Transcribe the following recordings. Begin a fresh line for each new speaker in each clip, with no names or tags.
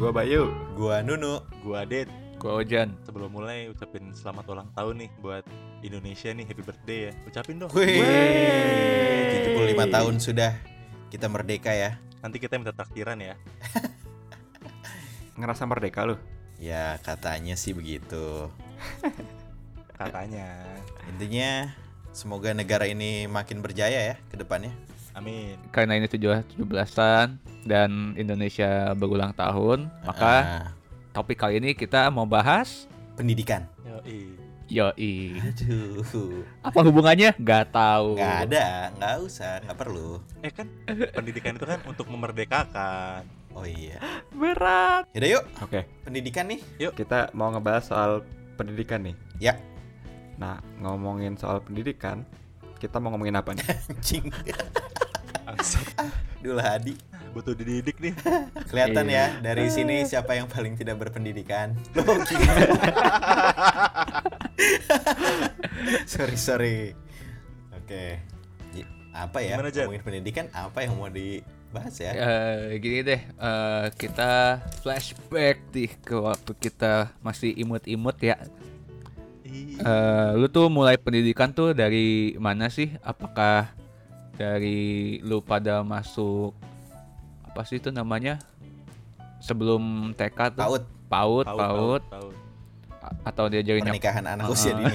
Gua Bayu,
Gua Nunu.
Gua Adit.
gua Ojan.
Sebelum mulai ucapin selamat ulang tahun nih buat Indonesia nih happy birthday ya. Ucapin dong.
Wih. 75 tahun sudah kita merdeka ya.
Nanti kita minta takdiran ya.
Ngerasa merdeka lu?
Ya katanya sih begitu.
Katanya.
Intinya semoga negara ini makin berjaya ya ke depannya.
Amin.
Karena ini tujuh- 17-an dan Indonesia berulang tahun, maka
Ah,
topik kali ini kita mau bahas
pendidikan.
Yoi.
yoi.
Aduh.
Apa hubungannya? Gak tahu.
Nggak ada, nggak usah, nggak perlu.
Eh kan pendidikan itu kan untuk memerdekakan.
Oh iya.
Berat.
Yaudah yuk,
Oke,
pendidikan nih.
kita mau ngebahas soal pendidikan nih.
Ya.
Nah, ngomongin soal pendidikan, kita mau ngomongin apa nih?
Anjing.
Angsat.
Dul Hadi.
Butuh dididik nih.
Kelihatan ya
Iya.
dari sini siapa yang paling tidak berpendidikan. Lo gimana? sorry sorry. Oke. Ji- Apa ya?
Gimana, Jan?
Ngomongin pendidikan apa yang mau dibahas
Iya,
ya?
gini deh, eh, kita flashback nih ke waktu kita masih imut-imut ya.
Ih.
Eh, lu tuh mulai pendidikan tuh dari mana sih? Apakah dari lu pada masuk apa sih itu namanya? Sebelum TK tuh
Paut
PAUD, PAUD,
Paut, paut.
A- atau diajarin Iya, nyap-
pernikahan anak
Ah.
usia dini.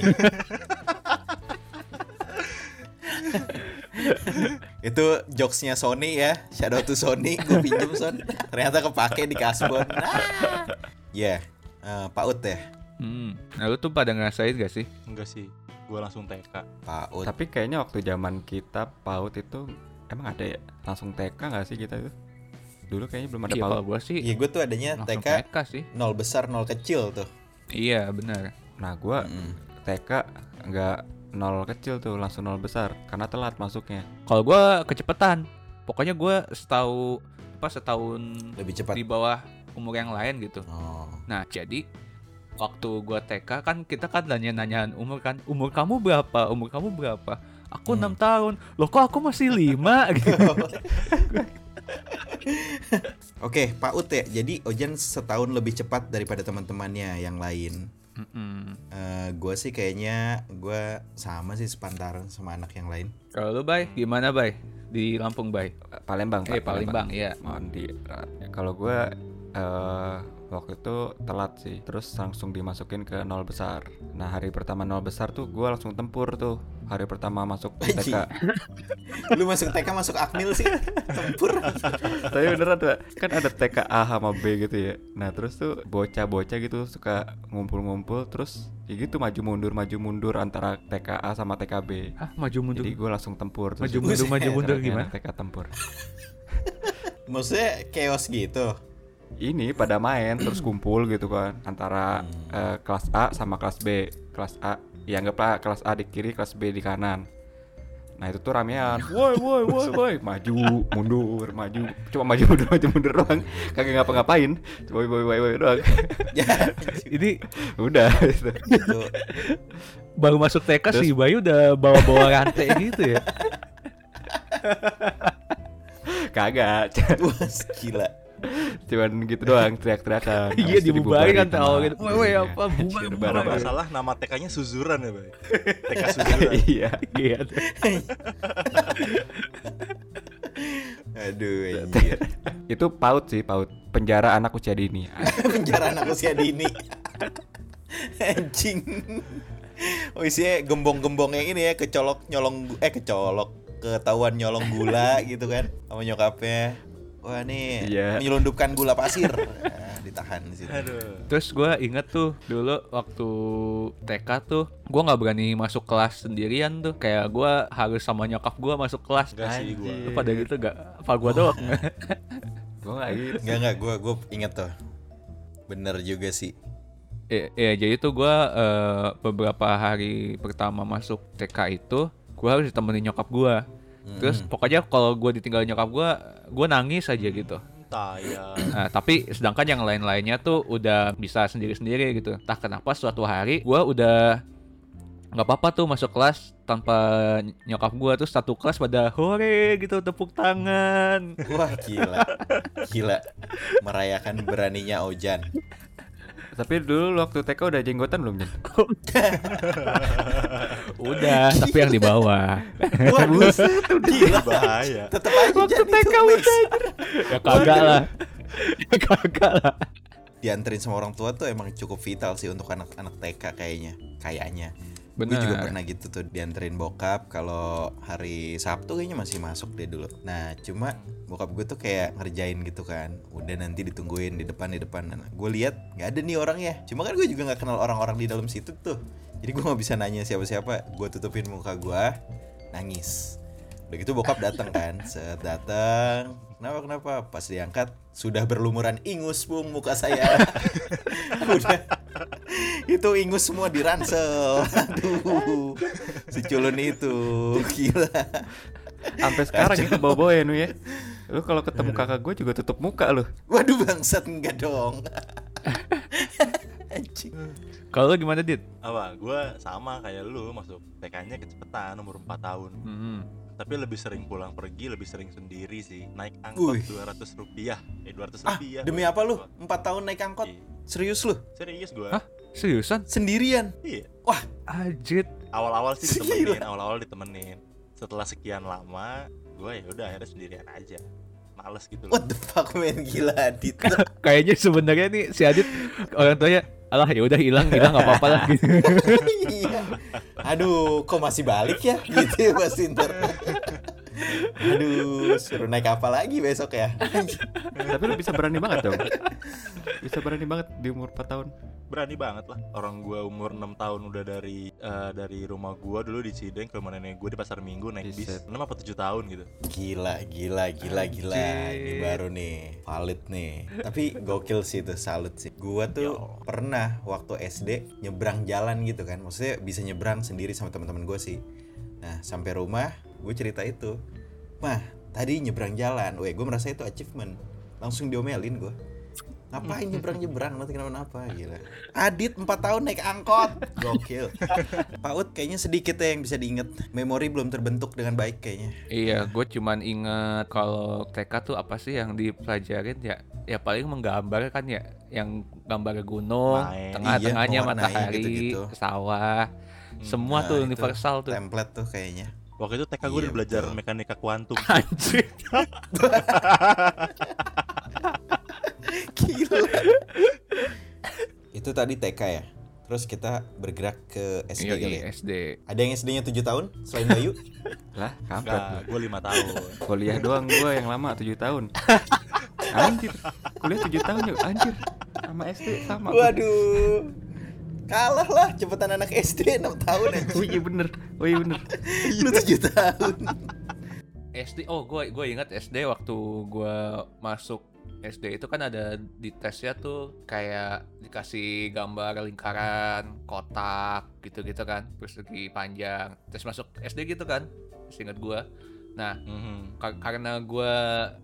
itu jokesnya Sony ya Shadow to Sony gue pinjem Son ternyata kepake di kasbon Ah. ya eh, paut ya
Hmm. Nah, lu tuh pada ngerasain gak sih?
Enggak sih. Gua langsung TK.
paut
Tapi kayaknya waktu zaman kita PAUD itu emang ada ya langsung TK nggak sih kita itu? Dulu kayaknya belum ada
Iya,
PAUD.
kalau gua sih
ya gue tuh adanya
langsung
TK
TK sih.
nol besar nol kecil tuh
Iya, benar.
Nah, gua
Hmm.
Mm.
TK nggak nol kecil tuh langsung nol besar karena telat masuknya.
Kalau gua kecepetan. Pokoknya gua setahu apa setahun
lebih cepat
di bawah umur yang lain gitu.
oh
Nah, jadi waktu gua TK kan kita kan nanya-nanyaan umur kan, umur kamu berapa? Umur kamu berapa? Aku
Hmm.
enam tahun. Loh kok aku masih lima gitu.
Oke, PAUD ya. Jadi Ojan setahun lebih cepat daripada teman-temannya yang lain.
Mm-mm.
Eh gue sih kayaknya gue sama sih sepantaran sama anak yang lain.
Kalau lu Bay, gimana Bay? Di Lampung Bay?
Eh, Palembang, Pak,
Eh, Palembang, iya.
Mohon di Ya, kalau gua eh waktu itu telat sih terus langsung dimasukin ke nol besar nah hari pertama nol besar tuh gua langsung tempur tuh hari pertama masuk TK
Lu masuk TK masuk akmil sih. Tempur.
tapi beneran tuh kan ada TKA sama B gitu ya nah terus tuh bocah-bocah gitu suka ngumpul-ngumpul terus ya gitu maju mundur maju mundur antara TKA sama TKB
Hah, maju mundur.
jadi gue langsung tempur terus
maju mundur, maju mundur
Akhirnya
gimana?
TK tempur
Maksudnya chaos gitu.
ini pada main terus kumpul gitu kan antara
Hmm.
eh, kelas A sama kelas B kelas A ya anggaplah kelas A di kiri kelas B di kanan nah itu tuh ramean woi woi woi woi maju mundur maju cuma maju mundur maju mundur doang kagak ngapa-ngapain cuma woi woi woi woi doang
Ya,
Ini
udah gitu.
gitu.
baru masuk TK
Terus-
sih Bayu udah bawa-bawa rantai gitu ya.
kagak
Wah, gila.
cuman gitu doang teriak-teriakan
Iya
Habis itu
dibubarin kan
sama-
tahu gitu. Woi, woi
Iya.
apa? Bubar,
Anjir,
bubar.
Kalau
bareng-bareng.
nggak salah nama TK-nya Suzuran ya, Bay. TK Suzuran.
iya
Iya.
Aduh, anjir.
itu paut sih paut penjara anak usia dini
Penjara anak usia dini. Anjing. Oh isinya gembong-gembong yang ini ya kecolok nyolong eh kecolok ketahuan nyolong gula gitu kan sama nyokapnya. Wah nih
Iya.
menyelundupkan gula pasir. Nah, ditahan di situ.
Aduh.
Terus gue inget tuh dulu waktu TK tuh gue nggak berani masuk kelas sendirian tuh kayak gue harus sama nyokap gue masuk kelas.
Enggak sih gua.
Lu pada gitu gak? Apa gue doang?
gue gak gitu
Enggak enggak gua gua inget tuh. Bener juga sih.
Iya iya, jadi tuh gue beberapa hari pertama masuk TK itu gue harus ditemenin nyokap gue.
Hmm.
Terus pokoknya kalau gue ditinggalin nyokap gue, gue nangis aja
Hmm.
gitu.
Tayang.
Nah, tapi sedangkan yang lain-lainnya tuh udah bisa sendiri-sendiri gitu. Entah kenapa suatu hari gua udah nggak apa-apa tuh masuk kelas tanpa nyokap gua terus satu kelas pada hore gitu tepuk tangan
Wah gila, gila merayakan beraninya Ojan.
Tapi dulu lu waktu TK udah jenggotan belum, Jan?
udah tapi yang di bawah
Waduh, gila.
bahaya.
Tetap aja Jan itu mix.
ya kagak lah ya kagak lah
Dianterin sama orang tua tuh emang cukup vital sih untuk anak-anak TK kayaknya, kayaknya. Gue
Bener.
juga pernah gitu tuh dianterin bokap kalau hari Sabtu kayaknya masih masuk deh dulu. Nah cuma bokap gue tuh kayak ngerjain gitu kan. Udah nanti ditungguin di depan di depan. Nah, gue lihat nggak ada nih orang ya. Cuma kan gue juga nggak kenal orang-orang di dalam situ tuh. Jadi gue nggak bisa nanya siapa-siapa. Gue tutupin muka gue, nangis. Udah gitu bokap datang kan, set datang. Kenapa kenapa? Pas diangkat sudah berlumuran ingus bung muka saya. Udah itu ingus semua di ransel aduh si culun itu gila
Sampai sekarang itu bobo ya, Nu ya. Lu kalau ketemu kakak gue juga tutup muka lu.
waduh bangsat enggak dong Anjing.
kalau lu gimana dit
Apa? Gua sama kayak lu masuk TK-nya kecepatan umur 4 tahun.
Mm-mm.
Tapi lebih sering pulang pergi, lebih sering sendiri sih. Naik
Wih.
angkot 200 rupiah. Eh 200
ah
rupiah.
demi apa lu empat tahun naik angkot
Iya.
serius lu
Serius gua.
Hah? seriusan
sendirian
Iya.
ajit
Awal-awal sih
Gila.
ditemenin, awal-awal ditemenin. Setelah sekian lama, gua ya udah akhirnya sendirian aja. Males gitu loh.
what the fuck man gila adit
kayaknya sebenarnya nih si Adit orang tuanya alah ya udah hilang hilang nggak apa-apa lah gitu.
Iya. aduh kok masih balik ya gitu ya pasti ntar aduh suruh naik apa lagi besok ya
Tapi lu bisa berani banget dong. Bisa berani banget di umur 4 tahun.
berani banget lah orang gua umur 6 tahun udah dari eh, dari rumah gua dulu di Cideng ke rumah nenek gua di pasar minggu naik bis
Buset.
6 apa 7 tahun gitu
Gila, gila, gila, gila. Ini
Anjir.
baru nih, valid nih. Tapi gokil sih itu, salut sih. Gua tuh
Yo.
pernah waktu SD nyebrang jalan gitu kan. Maksudnya bisa nyebrang sendiri sama teman-teman gue sih. Nah, sampai rumah gue cerita itu. Mah, tadi nyebrang jalan. Weh, gue merasa itu achievement. Langsung diomelin gue. Ngapain nyebrang-nyebrang nanti kenapa-napa gila. Adit 4 tahun naik angkot. Gokil. Paut kayaknya sedikit ya yang bisa diinget. Memori belum terbentuk dengan baik kayaknya.
iya gue cuman inget kalau TK tuh apa sih yang dipelajarin ya ya paling menggambar kan ya yang gambar gunung
Main.
tengah-tengahnya
Iya, mewarnai
matahari
gitu-gitu.
sawah semua
Nah,
tuh
itu.
universal tuh
template tuh kayaknya
Hmm. waktu itu TK
Iya,
gua udah belajar
betul.
mekanika kuantum
anjir
itu tadi TK ya terus kita bergerak ke SD
iya
kali
iya,
ya
SD
ada yang SD-nya 7 tahun selain Bayu
Lah, kampret. lu.
Enggak, gua 5 tahun
Kuliah doang gua yang lama 7 tahun. Anjir. Kuliah 7 tahun ya, anjir. Sama SD sama.
waduh kalah lah cepetan anak SD 6 tahun ya? aja
Oh iya bener, oh iya bener
lu 7 tahun
SD oh gue gue inget SD waktu gue masuk SD itu kan ada di tesnya tuh kayak dikasih gambar lingkaran, kotak gitu-gitu kan, persegi panjang. Terus masuk SD gitu kan, seingat gua. Nah,
Mhm.
Ka- karena gue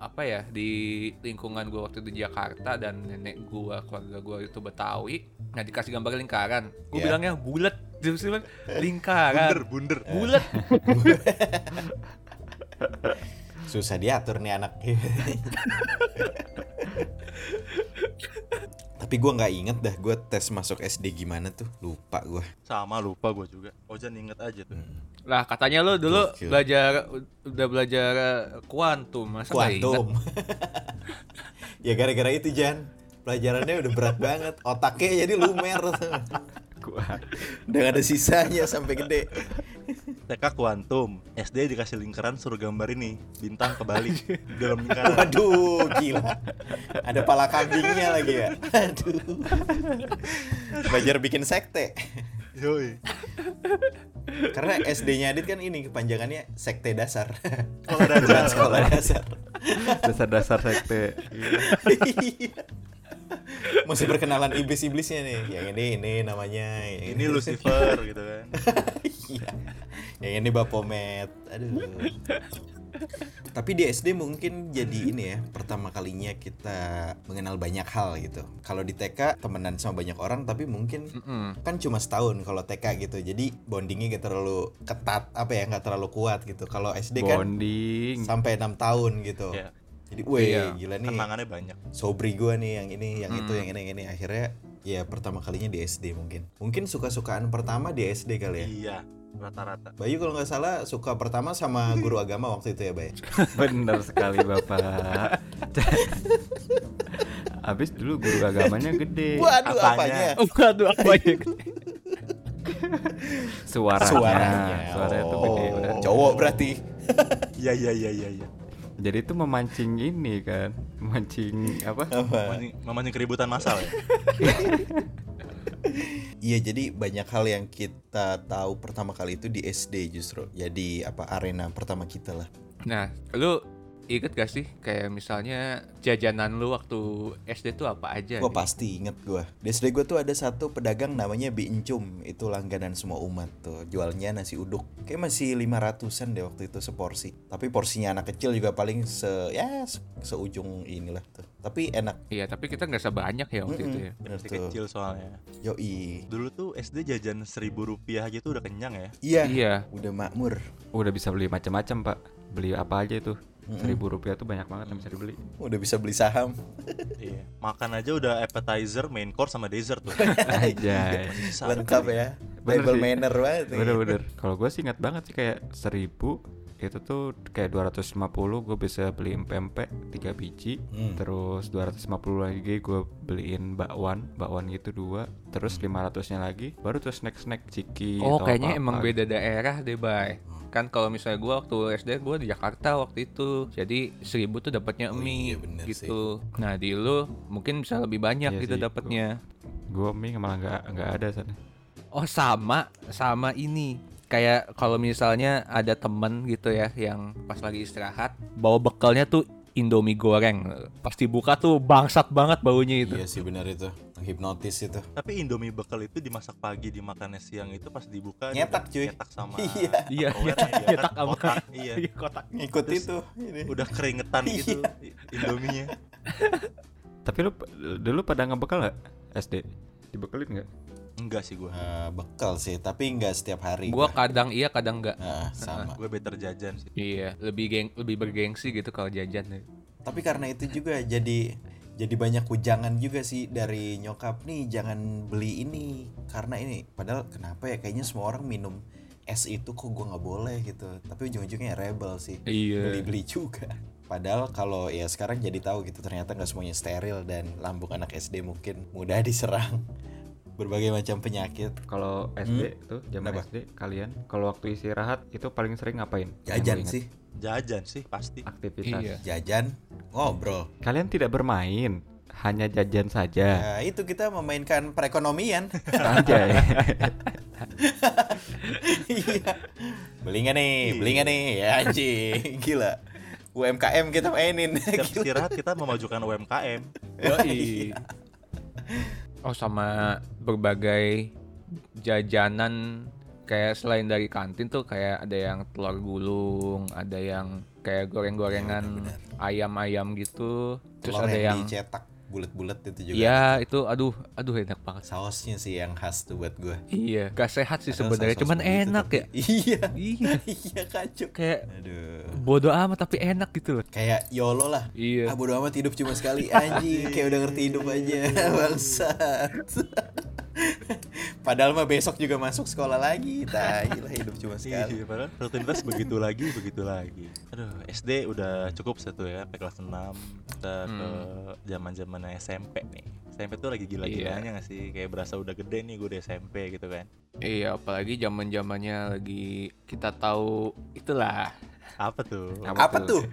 apa ya di lingkungan gue waktu di Jakarta dan nenek gue keluarga gue itu Betawi nah dikasih gambar lingkaran gue
Iya.
bilangnya bulat dia pasti bilang
bunder
lingkaran
bunder
bulat
susah diatur nih anak tapi gua nggak inget dah gua tes masuk SD gimana tuh lupa gua
sama lupa gua juga Ojan inget aja tuh
lah katanya lo dulu
Gokil.
belajar udah belajar eh, kuantum masa nggak ingat?
kuantum ya gara-gara itu Jan pelajarannya udah berat banget otaknya jadi lumer
Gua
udah gak ada sisanya sampai gede
TK kuantum SD dikasih lingkaran suruh gambar ini bintang kebalik dalam lingkaran
waduh gila ada pala kambingnya lagi ya aduh belajar bikin sekte
yoi
karena SD-nya Adit kan ini kepanjangannya sekte dasar
kalau ada
Bukan sekolah dasar
Dasar-dasar sekte Iya.
Iya. masih berkenalan iblis-iblisnya nih yang ini ini namanya yang
ini Lucifer gitu kan
Iya. Yang ini Bapomet. Aduh. Tapi di SD mungkin jadi ini ya pertama kalinya kita mengenal banyak hal gitu. Kalau di TK temenan sama banyak orang tapi mungkin
Mm-mm.
kan cuma setahun kalau TK gitu. Jadi bondingnya gak terlalu ketat apa ya nggak terlalu kuat gitu. Kalau SD kan
bonding
sampai enam tahun gitu.
Iya.
Jadi weh
Iya.
gila nih
Tantangannya banyak.
sobri gua nih yang ini yang itu
Hmm.
yang ini yang ini akhirnya ya pertama kalinya di SD mungkin. Mungkin suka-sukaan pertama di SD kali ya.
Iya, rata-rata.
Bayu kalau nggak salah suka pertama sama guru agama waktu itu ya Bay.
bener sekali bapak Habis dulu guru agamanya gede
Waduh apanya?
Apanya?
Waduh, apa ya?
suaranya
Suaranya.
Suaranya tuh
Oh,
gede udah.
Cowok berarti.
Iya, iya, iya, iya, iya.
jadi itu memancing ini kan memancing apa
Oh.
Memancing- Memancing keributan massal ya.
Iya jadi banyak hal yang kita tahu pertama kali itu di SD justru. Jadi apa arena pertama kita lah.
Nah, lu inget gak sih kayak misalnya jajanan lu waktu SD tuh apa
Iya,
aja?
Gua
gitu?
pasti inget gua. Di SD gua tuh ada satu pedagang namanya Bi Encum. Itu langganan semua umat tuh. Jualnya nasi uduk. Kayak masih 500-an deh waktu itu seporsi. Tapi porsinya anak kecil juga paling se ya se- seujung inilah tuh. Tapi enak.
Iya, tapi kita nggak sebanyak ya waktu
Hmm.
itu ya.
Mm-mm, Bener
Masih
tuh.
kecil soalnya.
Yoi.
Dulu tuh SD jajan seribu rupiah aja tuh udah kenyang ya.
Iya.
Iya.
Udah makmur.
udah bisa beli macam-macam pak beli apa aja itu
Mm-mm.
seribu rupiah tuh banyak banget yang bisa dibeli
Udah bisa beli saham.
Iya. Makan aja udah appetizer, main course sama dessert tuh.
aja
Bisa
Lengkap
kali.
ya.
Bener
Table
sih.
manner banget. nih.
bener-bener kalau gue sih ingat banget sih kayak seribu itu tuh kayak 250 gue bisa beli pempek 3 biji
Hmm.
terus 250 lagi gue beliin bakwan bakwan gitu dua terus
Hmm.
500 nya lagi baru tuh snack snack ciki
Oh,
atau
kayaknya
apa-apa
emang
gitu.
beda daerah deh, Bay. Kan kalau misalnya gua waktu SD gua di Jakarta waktu itu. Jadi seribu tuh dapatnya
Oh
mie
iya, bener
gitu. Nah, di lu mungkin bisa lebih banyak
Iya
gitu
sih,
dapatnya.
gue mie malah nggak nggak ada sana
Oh, sama sama ini. Kayak kalau misalnya ada temen gitu ya yang pas lagi istirahat bawa bekalnya tuh Indomie goreng. Pasti buka tuh bangsat banget baunya itu.
Iya sih benar itu. Hipnotis itu.
Tapi Indomie bekal itu dimasak pagi, dimakannya siang itu pas dibuka dia
Nyetak,
udah
cuy.
Nyetak sama
Iya.
Iya,
Tupperware-nya,
nyetak-
ya kan?
nyetak sama-
Kotak, Iya.
Iya, kotak.
Ngikut
Terus-
itu. Ini.
Udah keringetan
Iya.
gitu Indominya.
tapi lu p- dulu pada ngebekal nggak SD dibekelin nggak
Enggak sih gua.
Eh, bekal sih, tapi nggak setiap hari.
Gua
Pak.
kadang iya, kadang enggak.
Nah, sama.
Gue better jajan sih.
Iya, lebih geng lebih bergengsi gitu kalau jajan.
tapi karena itu juga jadi jadi banyak ujangan juga sih dari nyokap nih jangan beli ini karena ini padahal kenapa ya kayaknya semua orang minum es itu kok gua nggak boleh gitu tapi ujung-ujungnya rebel sih
Iya.
beli-beli juga. Padahal kalau ya sekarang jadi tahu gitu ternyata nggak semuanya steril dan lambung anak SD mungkin mudah diserang berbagai macam penyakit.
kalau SD tuh zaman
Kenapa?
SD kalian kalau waktu istirahat itu paling sering ngapain Yang lu
Jajan
ingat?
sih,
Jajan sih pasti.
aktivitas
Iya.
jajan, ngobrol.
Kalian tidak bermain, hanya jajan
Ya.
saja. ya.
Nah, itu kita memainkan perekonomian.
Anjay.
Iya. beli nggak nih, beli nggak nih, ya anjing, gila. UMKM kita mainin.
Setiap
Gila.
istirahat kita memajukan UMKM.
Yoi. Oh sama berbagai jajanan kayak selain dari kantin tuh kayak ada yang telur gulung, ada yang kayak goreng-gorengan
Iya,
ayam-ayam gitu. Terus
Telur
ada yang
dicetak bulat-bulat itu juga.
Iya, itu aduh aduh enak banget.
Sausnya sih yang khas tuh buat gue.
Iya, gak sehat sih sebenarnya, cuman
gitu,
enak ya.
Iya,
Iya,
iya kacau.
kayak
Aduh.
bodoh amat tapi enak gitu loh.
kayak YOLO lah
Iya.
ah bodo amat hidup cuma sekali anjing
Iya.
kayak udah ngerti hidup aja bangsat padahal mah besok juga masuk sekolah lagi tai lah hidup cuma sekali
Iya, padahal rutinitas begitu lagi, begitu lagi. Aduh, SD udah cukup satu ya, sampai kelas 6 kita
Hmm.
ke zaman-zamannya SMP nih. SMP tuh lagi gila-gilanya nggak sih? Kayak berasa udah gede nih gue udah SMP gitu kan.
Iya, apalagi zaman-zamannya lagi kita tahu itulah
Apa tuh?
apa tuh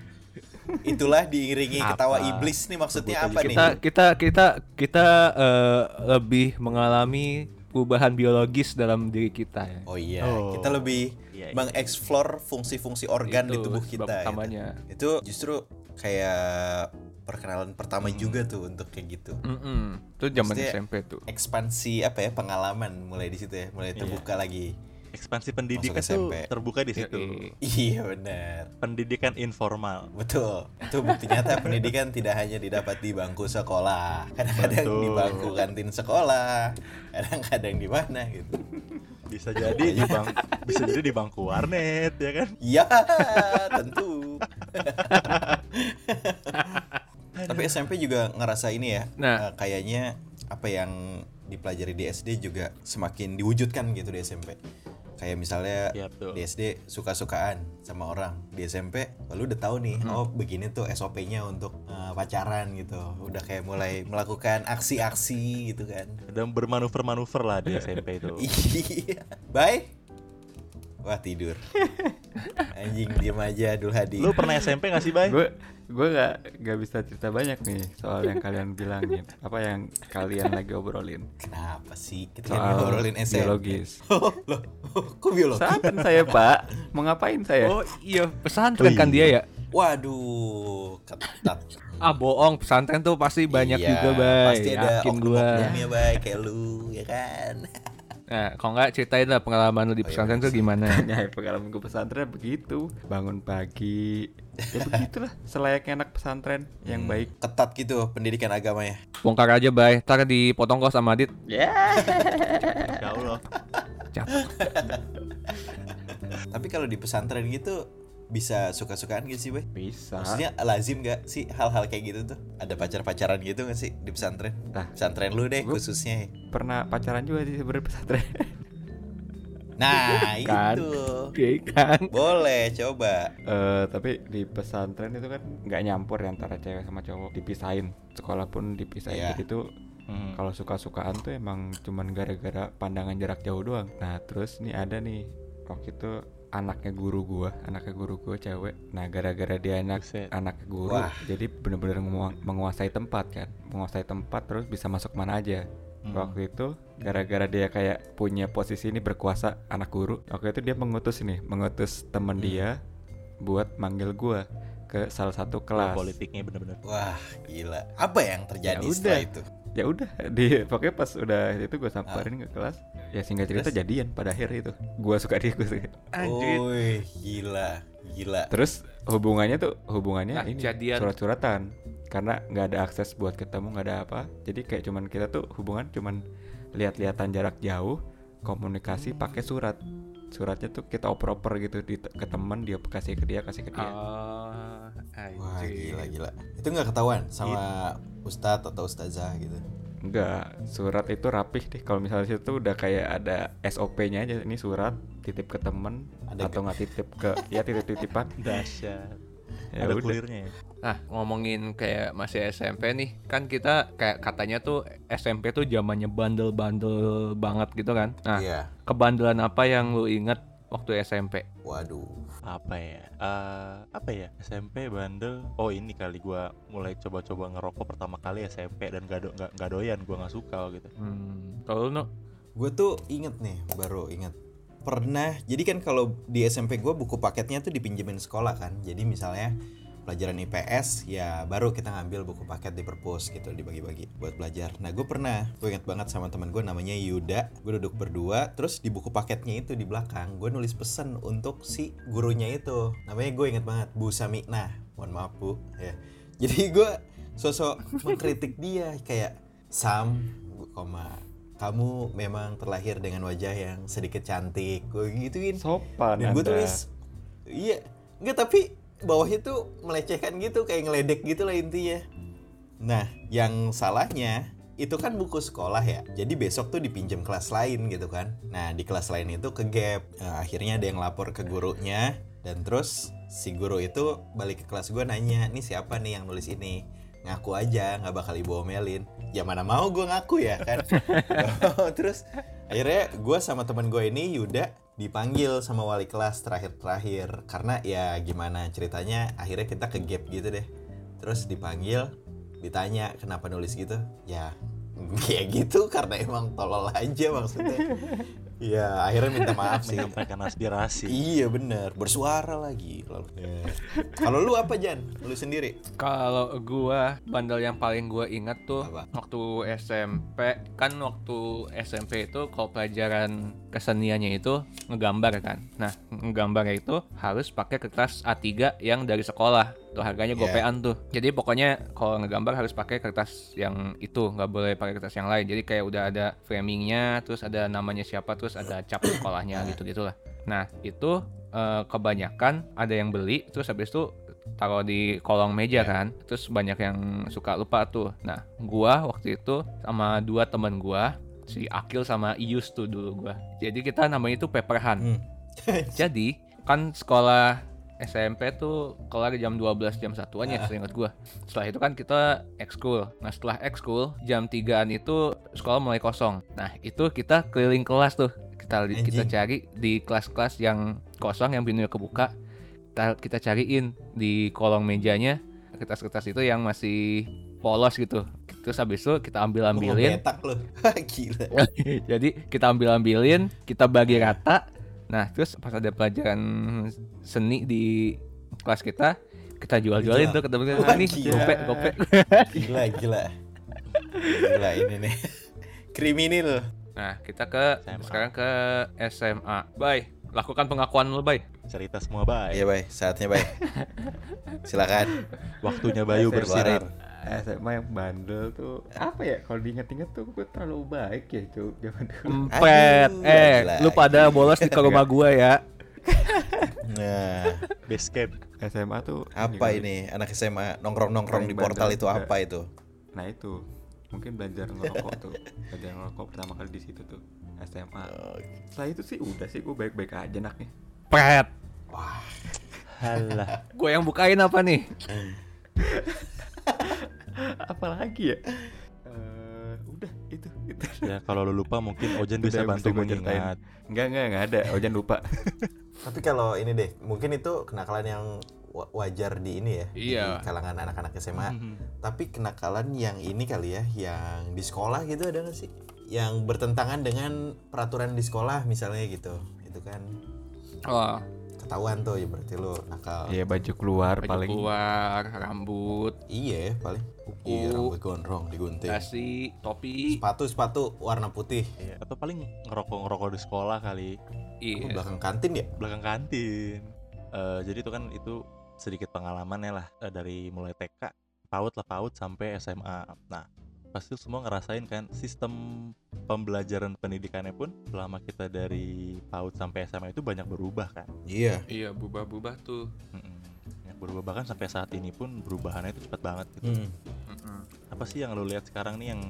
itulah diiringi
Apa?
ketawa iblis nih maksudnya
Sebut
apa
aja
nih
kita kita kita kita eh, lebih mengalami perubahan biologis dalam diri kita ya.
oh iya
Oh.
kita lebih
Iya, iya.
mengeksplor fungsi-fungsi organ di tubuh kita
sebab
gitu.
utamanya.
itu justru kayak perkenalan
Hmm.
pertama juga tuh untuk kayak gitu
Mm-mm. Itu zaman
Maksudnya-
SMP tuh.
Iya.
ekspansi apa ya pengalaman mulai di situ ya mulai terbuka lagi
Ekspansi
Masuk
pendidikan tuh
SMP.
terbuka di situ.
Yoi.
Iya benar.
Pendidikan informal.
Betul. Itu bukti nyata pendidikan tidak hanya didapat di bangku sekolah. Kadang-kadang di
Betul.
bangku kantin sekolah. Kadang-kadang di mana gitu.
Bisa jadi di bang bisa jadi di bangku warnet ya kan.
Ya, tentu. Tapi SMP juga ngerasa ini ya.
Nah.
eh, kayaknya apa yang dipelajari di SD juga semakin diwujudkan gitu di SMP. Kayak misalnya
Iya, betul.
di SD suka-sukaan sama orang. Di SMP oh, lu udah tahu nih, oh begini tuh SOP-nya untuk eh, pacaran gitu. Udah kayak mulai melakukan aksi-aksi gitu kan.
Dan bermanuver-manuver lah di SMP itu.
Iya. Bye. Wah tidur. Anjing diem aja Dul Hadi.
Lu pernah SMP gak sih, Bay?
gue gue nggak nggak bisa cerita banyak nih soal yang kalian bilangin apa yang kalian lagi obrolin
Kenapa sih kita kan
soal
ngobrolin SMP?
biologis
Loh, Oh, loh, kok biologi?
Sampai saya pak mau ngapain saya
Oh iya, pesantren kan dia
iya.
ya?
Waduh, ketat.
Ah bohong, pesantren tuh pasti banyak
Iya,
juga, Bay.
Pasti ada
Yakin gua.
oknum-oknumnya, Bay, kayak lu, ya kan?
Nah, kalau nggak ceritain
Oh,
lah pengalaman lu
iya,
di pesantren tuh gimana?
ya pengalaman gue pesantren begitu bangun pagi ya begitulah selayaknya anak pesantren yang baik
Ketat gitu pendidikan agamanya.
Bongkar aja, Bay. Ntar dipotong kos sama Adit.
ya
Insya Ya Allah.
Cakep.
Tapi kalau di pesantren gitu bisa suka-sukaan gitu sih, Bay?
bisa
Maksudnya lazim gak sih hal-hal kayak gitu tuh? Ada pacar-pacaran gitu gak sih di pesantren?
Nah.
Pesantren lu deh
Gua-
khususnya. ya.
pernah pacaran juga sih sebenarnya pesantren
Nah,
Kan.
itu.
Oke kan?
Boleh coba.
Eh, tapi di pesantren itu kan nggak nyampur ya antara cewek sama cowok dipisahin sekolah pun dipisahin
Iya.
jadi tuh
Hmm.
kalau suka-sukaan tuh emang cuman gara-gara pandangan jarak jauh doang nah terus nih ada nih waktu itu anaknya guru gua anaknya guru gua cewek nah gara-gara dia anak
Buset.
anak guru
Wah.
jadi bener-bener mengua- menguasai tempat kan menguasai tempat terus bisa masuk mana aja
Hmm.
waktu itu gara-gara dia kayak punya posisi ini berkuasa anak guru waktu itu dia mengutus nih mengutus temen dia buat manggil gua ke salah satu kelas
Politiknya bener-bener.
Wah, gila. Apa yang terjadi
Ya
setelah
udah.
itu?
ya udah di pokoknya pas udah itu gue samperin ke kelas ya singkat cerita
Terus?
jadian pada akhir itu gue suka dia gue suka
Anjir.
Woi, gila, gila.
terus hubungannya tuh hubungannya
Nah,
ini
jadian.
surat-suratan karena nggak ada akses buat ketemu nggak ada apa jadi kayak cuman kita tuh hubungan cuman lihat-lihatan jarak jauh komunikasi pakai surat suratnya tuh kita oper-oper gitu di, ke temen dia kasih ke dia kasih ke dia
Oh,
Wah, gila,
anjir.
gila. Itu nggak ketahuan sama ustadz atau ustazah gitu.
Enggak, surat itu rapih deh. Kalau misalnya situ udah kayak ada SOP-nya aja. Ini surat titip ke temen
Ada
atau nggak titip ke ya titip-titipan.
Dahsyat.
Ya udah.
Ada kulirnya ya.
Nah, ngomongin kayak masih SMP nih, kan kita kayak katanya tuh SMP tuh zamannya bandel-bandel banget gitu kan. Nah,
Iya.
kebandelan apa yang lu inget waktu SMP?
Waduh.
apa ya Eh, apa ya SMP bandel oh ini kali gua mulai coba-coba ngerokok pertama kali SMP dan gak, do, gak, gak doyan gua nggak suka gitu
Hmm, kalau lu no,
Gue tuh inget nih, baru inget. Pernah, jadi kan kalau di SMP gue buku paketnya tuh dipinjemin sekolah kan. Jadi misalnya pelajaran IPS ya baru kita ngambil buku paket di perpus gitu dibagi-bagi buat belajar. Nah gue pernah, gue inget banget sama teman gue namanya Yuda. Gue duduk berdua, terus di buku paketnya itu di belakang gue nulis pesan untuk si gurunya itu. Namanya gue inget banget Bu Samikna. Mohon maaf Bu. Ya. Jadi gue sosok mengkritik dia kayak Sam, koma kamu memang terlahir dengan wajah yang sedikit cantik. Gue gituin.
Sopan
Dan gue
Anda.
tulis Iya Enggak tapi Bawahnya tuh melecehkan gitu Kayak ngeledek gitu lah intinya Nah yang salahnya itu kan buku sekolah ya jadi besok tuh dipinjam kelas lain gitu kan nah di kelas lain itu ke gap Eh, akhirnya ada yang lapor ke gurunya dan terus si guru itu balik ke kelas gue nanya nih siapa nih yang nulis ini ngaku aja nggak bakal ibu omelin ya mana mau gue ngaku ya kan terus akhirnya gue sama teman gue ini Yuda dipanggil sama wali kelas terakhir-terakhir karena ya gimana ceritanya akhirnya kita ke gap gitu deh terus dipanggil ditanya kenapa nulis gitu ya kayak gitu karena emang tolol aja maksudnya Iya, akhirnya minta maaf sih.
menyampaikan aspirasi
Iya bener, bersuara lagi lalu. Kalau lu apa Jan? Lu sendiri?
Kalau gua bandel yang paling gua ingat tuh
Apa?
waktu SMP kan waktu SMP itu kalau pelajaran keseniannya itu ngegambar kan. Nah, ngegambarnya itu harus pakai kertas A3 yang dari sekolah. Tuh harganya
Iya.
gopean tuh. Jadi pokoknya kalau ngegambar harus pakai kertas yang itu, nggak boleh pakai kertas yang lain. Jadi kayak udah ada framingnya, terus ada namanya siapa, terus ada cap sekolahnya gitu-gitulah. Nah, itu eh, kebanyakan ada yang beli, terus habis itu taruh di kolong meja kan terus banyak yang suka lupa tuh nah gua waktu itu sama dua temen gua si Akil sama Ius tuh dulu gua jadi kita namanya itu
Hmm.
paperhan jadi kan sekolah SMP tuh kelar jam 12 jam satuan ya seingat gua setelah itu kan kita ekskul nah setelah ekskul jam 3an itu sekolah mulai kosong nah itu kita keliling kelas tuh kita
Anjing.
kita cari di kelas-kelas yang kosong yang pintunya kebuka kita, kita cariin di kolong mejanya kertas-kertas itu yang masih polos gitu terus habis itu kita ambil ambilin
Betak lu. Hah, Gila.
jadi kita ambil ambilin kita bagi rata nah terus pas ada pelajaran seni di kelas kita kita jual
Dijual.
jualin tuh ketemu
Iya. Wah,
ah, nih
gila.
gope gope
Gila, gila. Gila ini nih. Kriminal.
nah kita ke
SMA.
sekarang ke SMA bye lakukan pengakuan lu bye
cerita semua baik
Iya, Bay. Saatnya, Bay. Silakan.
waktunya Bayu
Saya
bersinar
SMA yang bandel tuh apa ya kalau diinget-inget tuh gue terlalu baik ya cuk zaman dulu
empet
Aduh,
eh
lagi-lagi.
lu pada bolos di ke rumah gua ya
Nah,
base camp
SMA tuh
apa
kali.
ini anak SMA nongkrong-nongkrong di
Paling
portal
bandel
itu
juga.
apa itu?
nah itu mungkin belajar ngerokok tuh belajar ngerokok pertama kali di situ tuh SMA setelah itu sih udah sih gue baik-baik aja naknya
pet
halah
gue yang bukain apa nih
apalagi ya Eh, udah itu itu
ya kalau lu lupa mungkin Ojan bisa
Udah,
bantu
gua ceritain.
mengingat
enggak enggak enggak ada Ojan lupa
Tapi kalau ini deh, mungkin itu kenakalan yang wa- wajar di ini ya.
Iya. Mhm.
Di kalangan anak-anak SMA. Tapi kenakalan yang ini kali ya, yang di sekolah gitu ada nggak sih? Yang bertentangan dengan peraturan di sekolah misalnya gitu. Itu kan
oh
ketahuan tuh ya berarti lu nakal.
Iya baju keluar
baju
paling
keluar rambut
Iya paling.
Kuku.
Iya, rambut gondrong digunting.
dasi topi
Sepatu-sepatu warna putih.
Iya.
atau paling ngerokok-ngerokok di sekolah kali
Oh,
iya
belakang kantin ya?
belakang kantin Eh, jadi itu kan itu sedikit pengalamannya lah eh, dari mulai TK PAUD lah PAUD sampai SMA nah pasti semua ngerasain kan sistem pembelajaran pendidikannya pun selama kita dari PAUD sampai SMA itu banyak berubah kan
Iya.
iya berubah-ubah tuh
Mm-mm. banyak berubah bahkan sampai saat ini pun perubahannya itu cepat banget gitu
Hmm.
apa sih yang lo lihat sekarang nih yang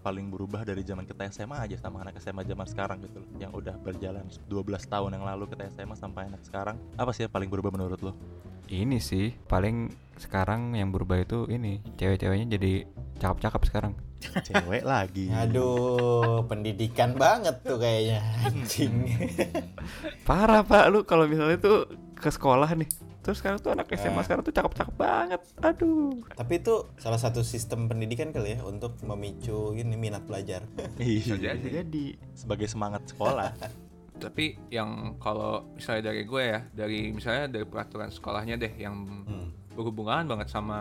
paling berubah dari zaman kita SMA aja sama anak SMA zaman sekarang gitu loh yang udah berjalan 12 tahun yang lalu kita SMA sampai anak sekarang apa sih yang paling berubah menurut lo
ini sih paling sekarang yang berubah itu ini cewek-ceweknya jadi cakep-cakep sekarang
cewek lagi
Aduh, pendidikan banget tuh kayaknya. Anjing.
parah pak lu kalau misalnya tuh ke sekolah nih terus sekarang tuh anak SMA
Eh.
sekarang tuh cakep-cakep banget aduh
Tapi itu salah satu sistem pendidikan kali ya untuk memicu ini minat belajar.
Iya.
bisa jadi
sebagai semangat sekolah
tapi yang kalau misalnya dari gue ya dari misalnya dari peraturan sekolahnya deh yang
Hmm.
berhubungan banget sama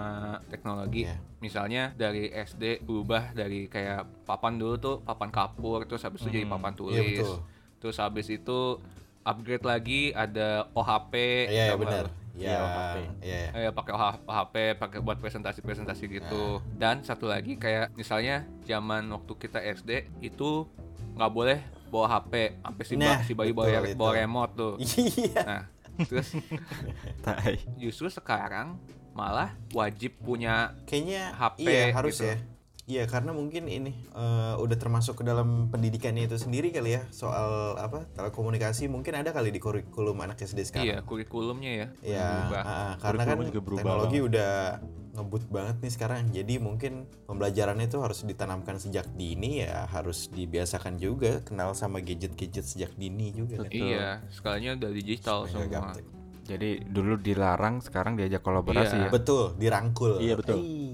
teknologi
Iya.
misalnya dari SD berubah dari kayak papan dulu tuh papan kapur terus habis itu jadi papan tulis
Iya, betul.
terus habis itu upgrade lagi ada OHP
Iya, ya,
tau nggak
benar.
lu?
Iya,
HP.
iya. ya.
Eh, pakai OH HP, pakai buat presentasi-presentasi
Iya.
gitu. Dan satu lagi kayak misalnya zaman waktu kita SD itu nggak boleh bawa HP, sampai si, ba-
Nah,
si bayi
betul
bawa,
itu.
bawa remote tuh.
Iya.
Nah, terus
tai
justru sekarang malah wajib punya
Kayaknya
HP
iya harus
gitu.
ya. Iya, karena mungkin ini eh, udah termasuk ke dalam pendidikannya itu sendiri kali ya soal apa telekomunikasi mungkin ada kali di kurikulum anak SD
iya
sekarang.
kurikulumnya ya.
Ya,
berubah.
ah, ah, karena kan
Kurikulumnya juga berubah
teknologi udah ngebut banget nih sekarang. Jadi mungkin pembelajarannya itu harus ditanamkan sejak dini ya, harus dibiasakan juga kenal sama gadget-gadget sejak dini juga. kan.
Betul.
Iya, sekalinya udah digital
Mega
semua.
gaptek.
Jadi dulu dilarang, sekarang diajak kolaborasi
Iya.
ya.
Betul, dirangkul.
Iya, betul.
Ih.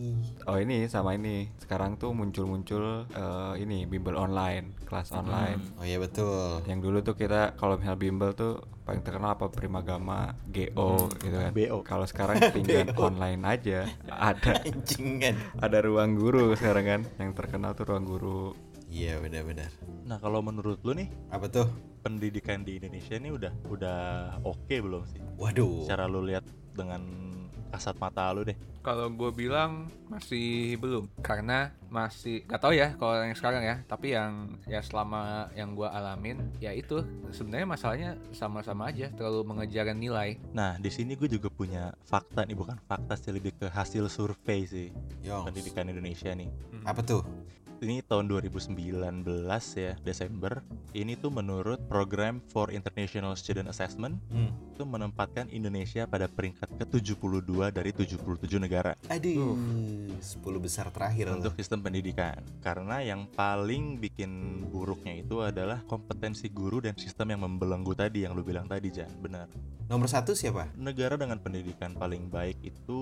Oh ini sama ini. Sekarang tuh muncul-muncul eh, ini bimbel online, kelas online.
Oh iya betul.
Yang dulu tuh kita kalau misalnya bimbel tuh paling terkenal apa Primagama, GO gitu kan.
BO.
Kalau sekarang tinggal online aja. Ada
Anjingan.
ada ruang guru sekarang kan. Yang terkenal tuh ruang guru.
Iya benar-benar.
Nah kalau menurut lu nih
Apa tuh?
pendidikan di Indonesia ini udah udah oke belum sih?
Waduh.
Cara lu lihat dengan kasat mata lu deh.
Kalau gue bilang masih belum karena masih gak tau ya kalau yang sekarang ya. Tapi yang ya selama yang gue alamin ya itu sebenarnya masalahnya sama-sama aja terlalu mengejar nilai.
Nah di sini gue juga punya fakta nih bukan fakta sih lebih ke hasil survei sih
Yong.
pendidikan Indonesia nih.
ya Apa tuh?
Ini tahun 2019 ya Desember. Ini tuh menurut program for International Student Assessment
Hmm.
itu menempatkan Indonesia pada peringkat ke-72 dari 77 negara
Aduh. 10 besar terakhir loh.
untuk sistem pendidikan. Karena yang paling bikin buruknya itu adalah kompetensi guru dan sistem yang membelenggu tadi yang lu bilang tadi, Jan. Benar.
Nomor satu siapa?
Negara dengan pendidikan paling baik itu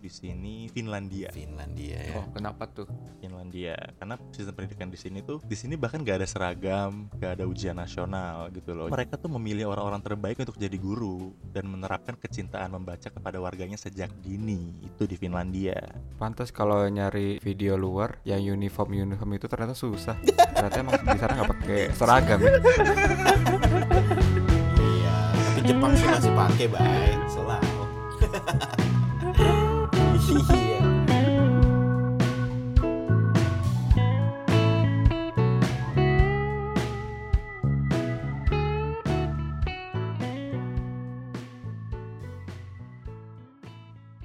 di sini Finlandia.
Finlandia ya.
Oh kenapa tuh?
Finlandia. Karena sistem pendidikan di sini tuh di sini bahkan gak ada seragam, gak ada ujian nasional gitu loh. Mereka tuh memilih orang-orang terbaik untuk jadi guru dan menerapkan kecintaan membaca kepada warganya sejak dini. Itu di Finlandia.
Pantas kalau nyari video luar yang uniform uniform itu ternyata susah. Ternyata emang di sana nggak pakai seragam. ya.
Iya. Tapi Jepang sih masih pakai, Bay. Selalu.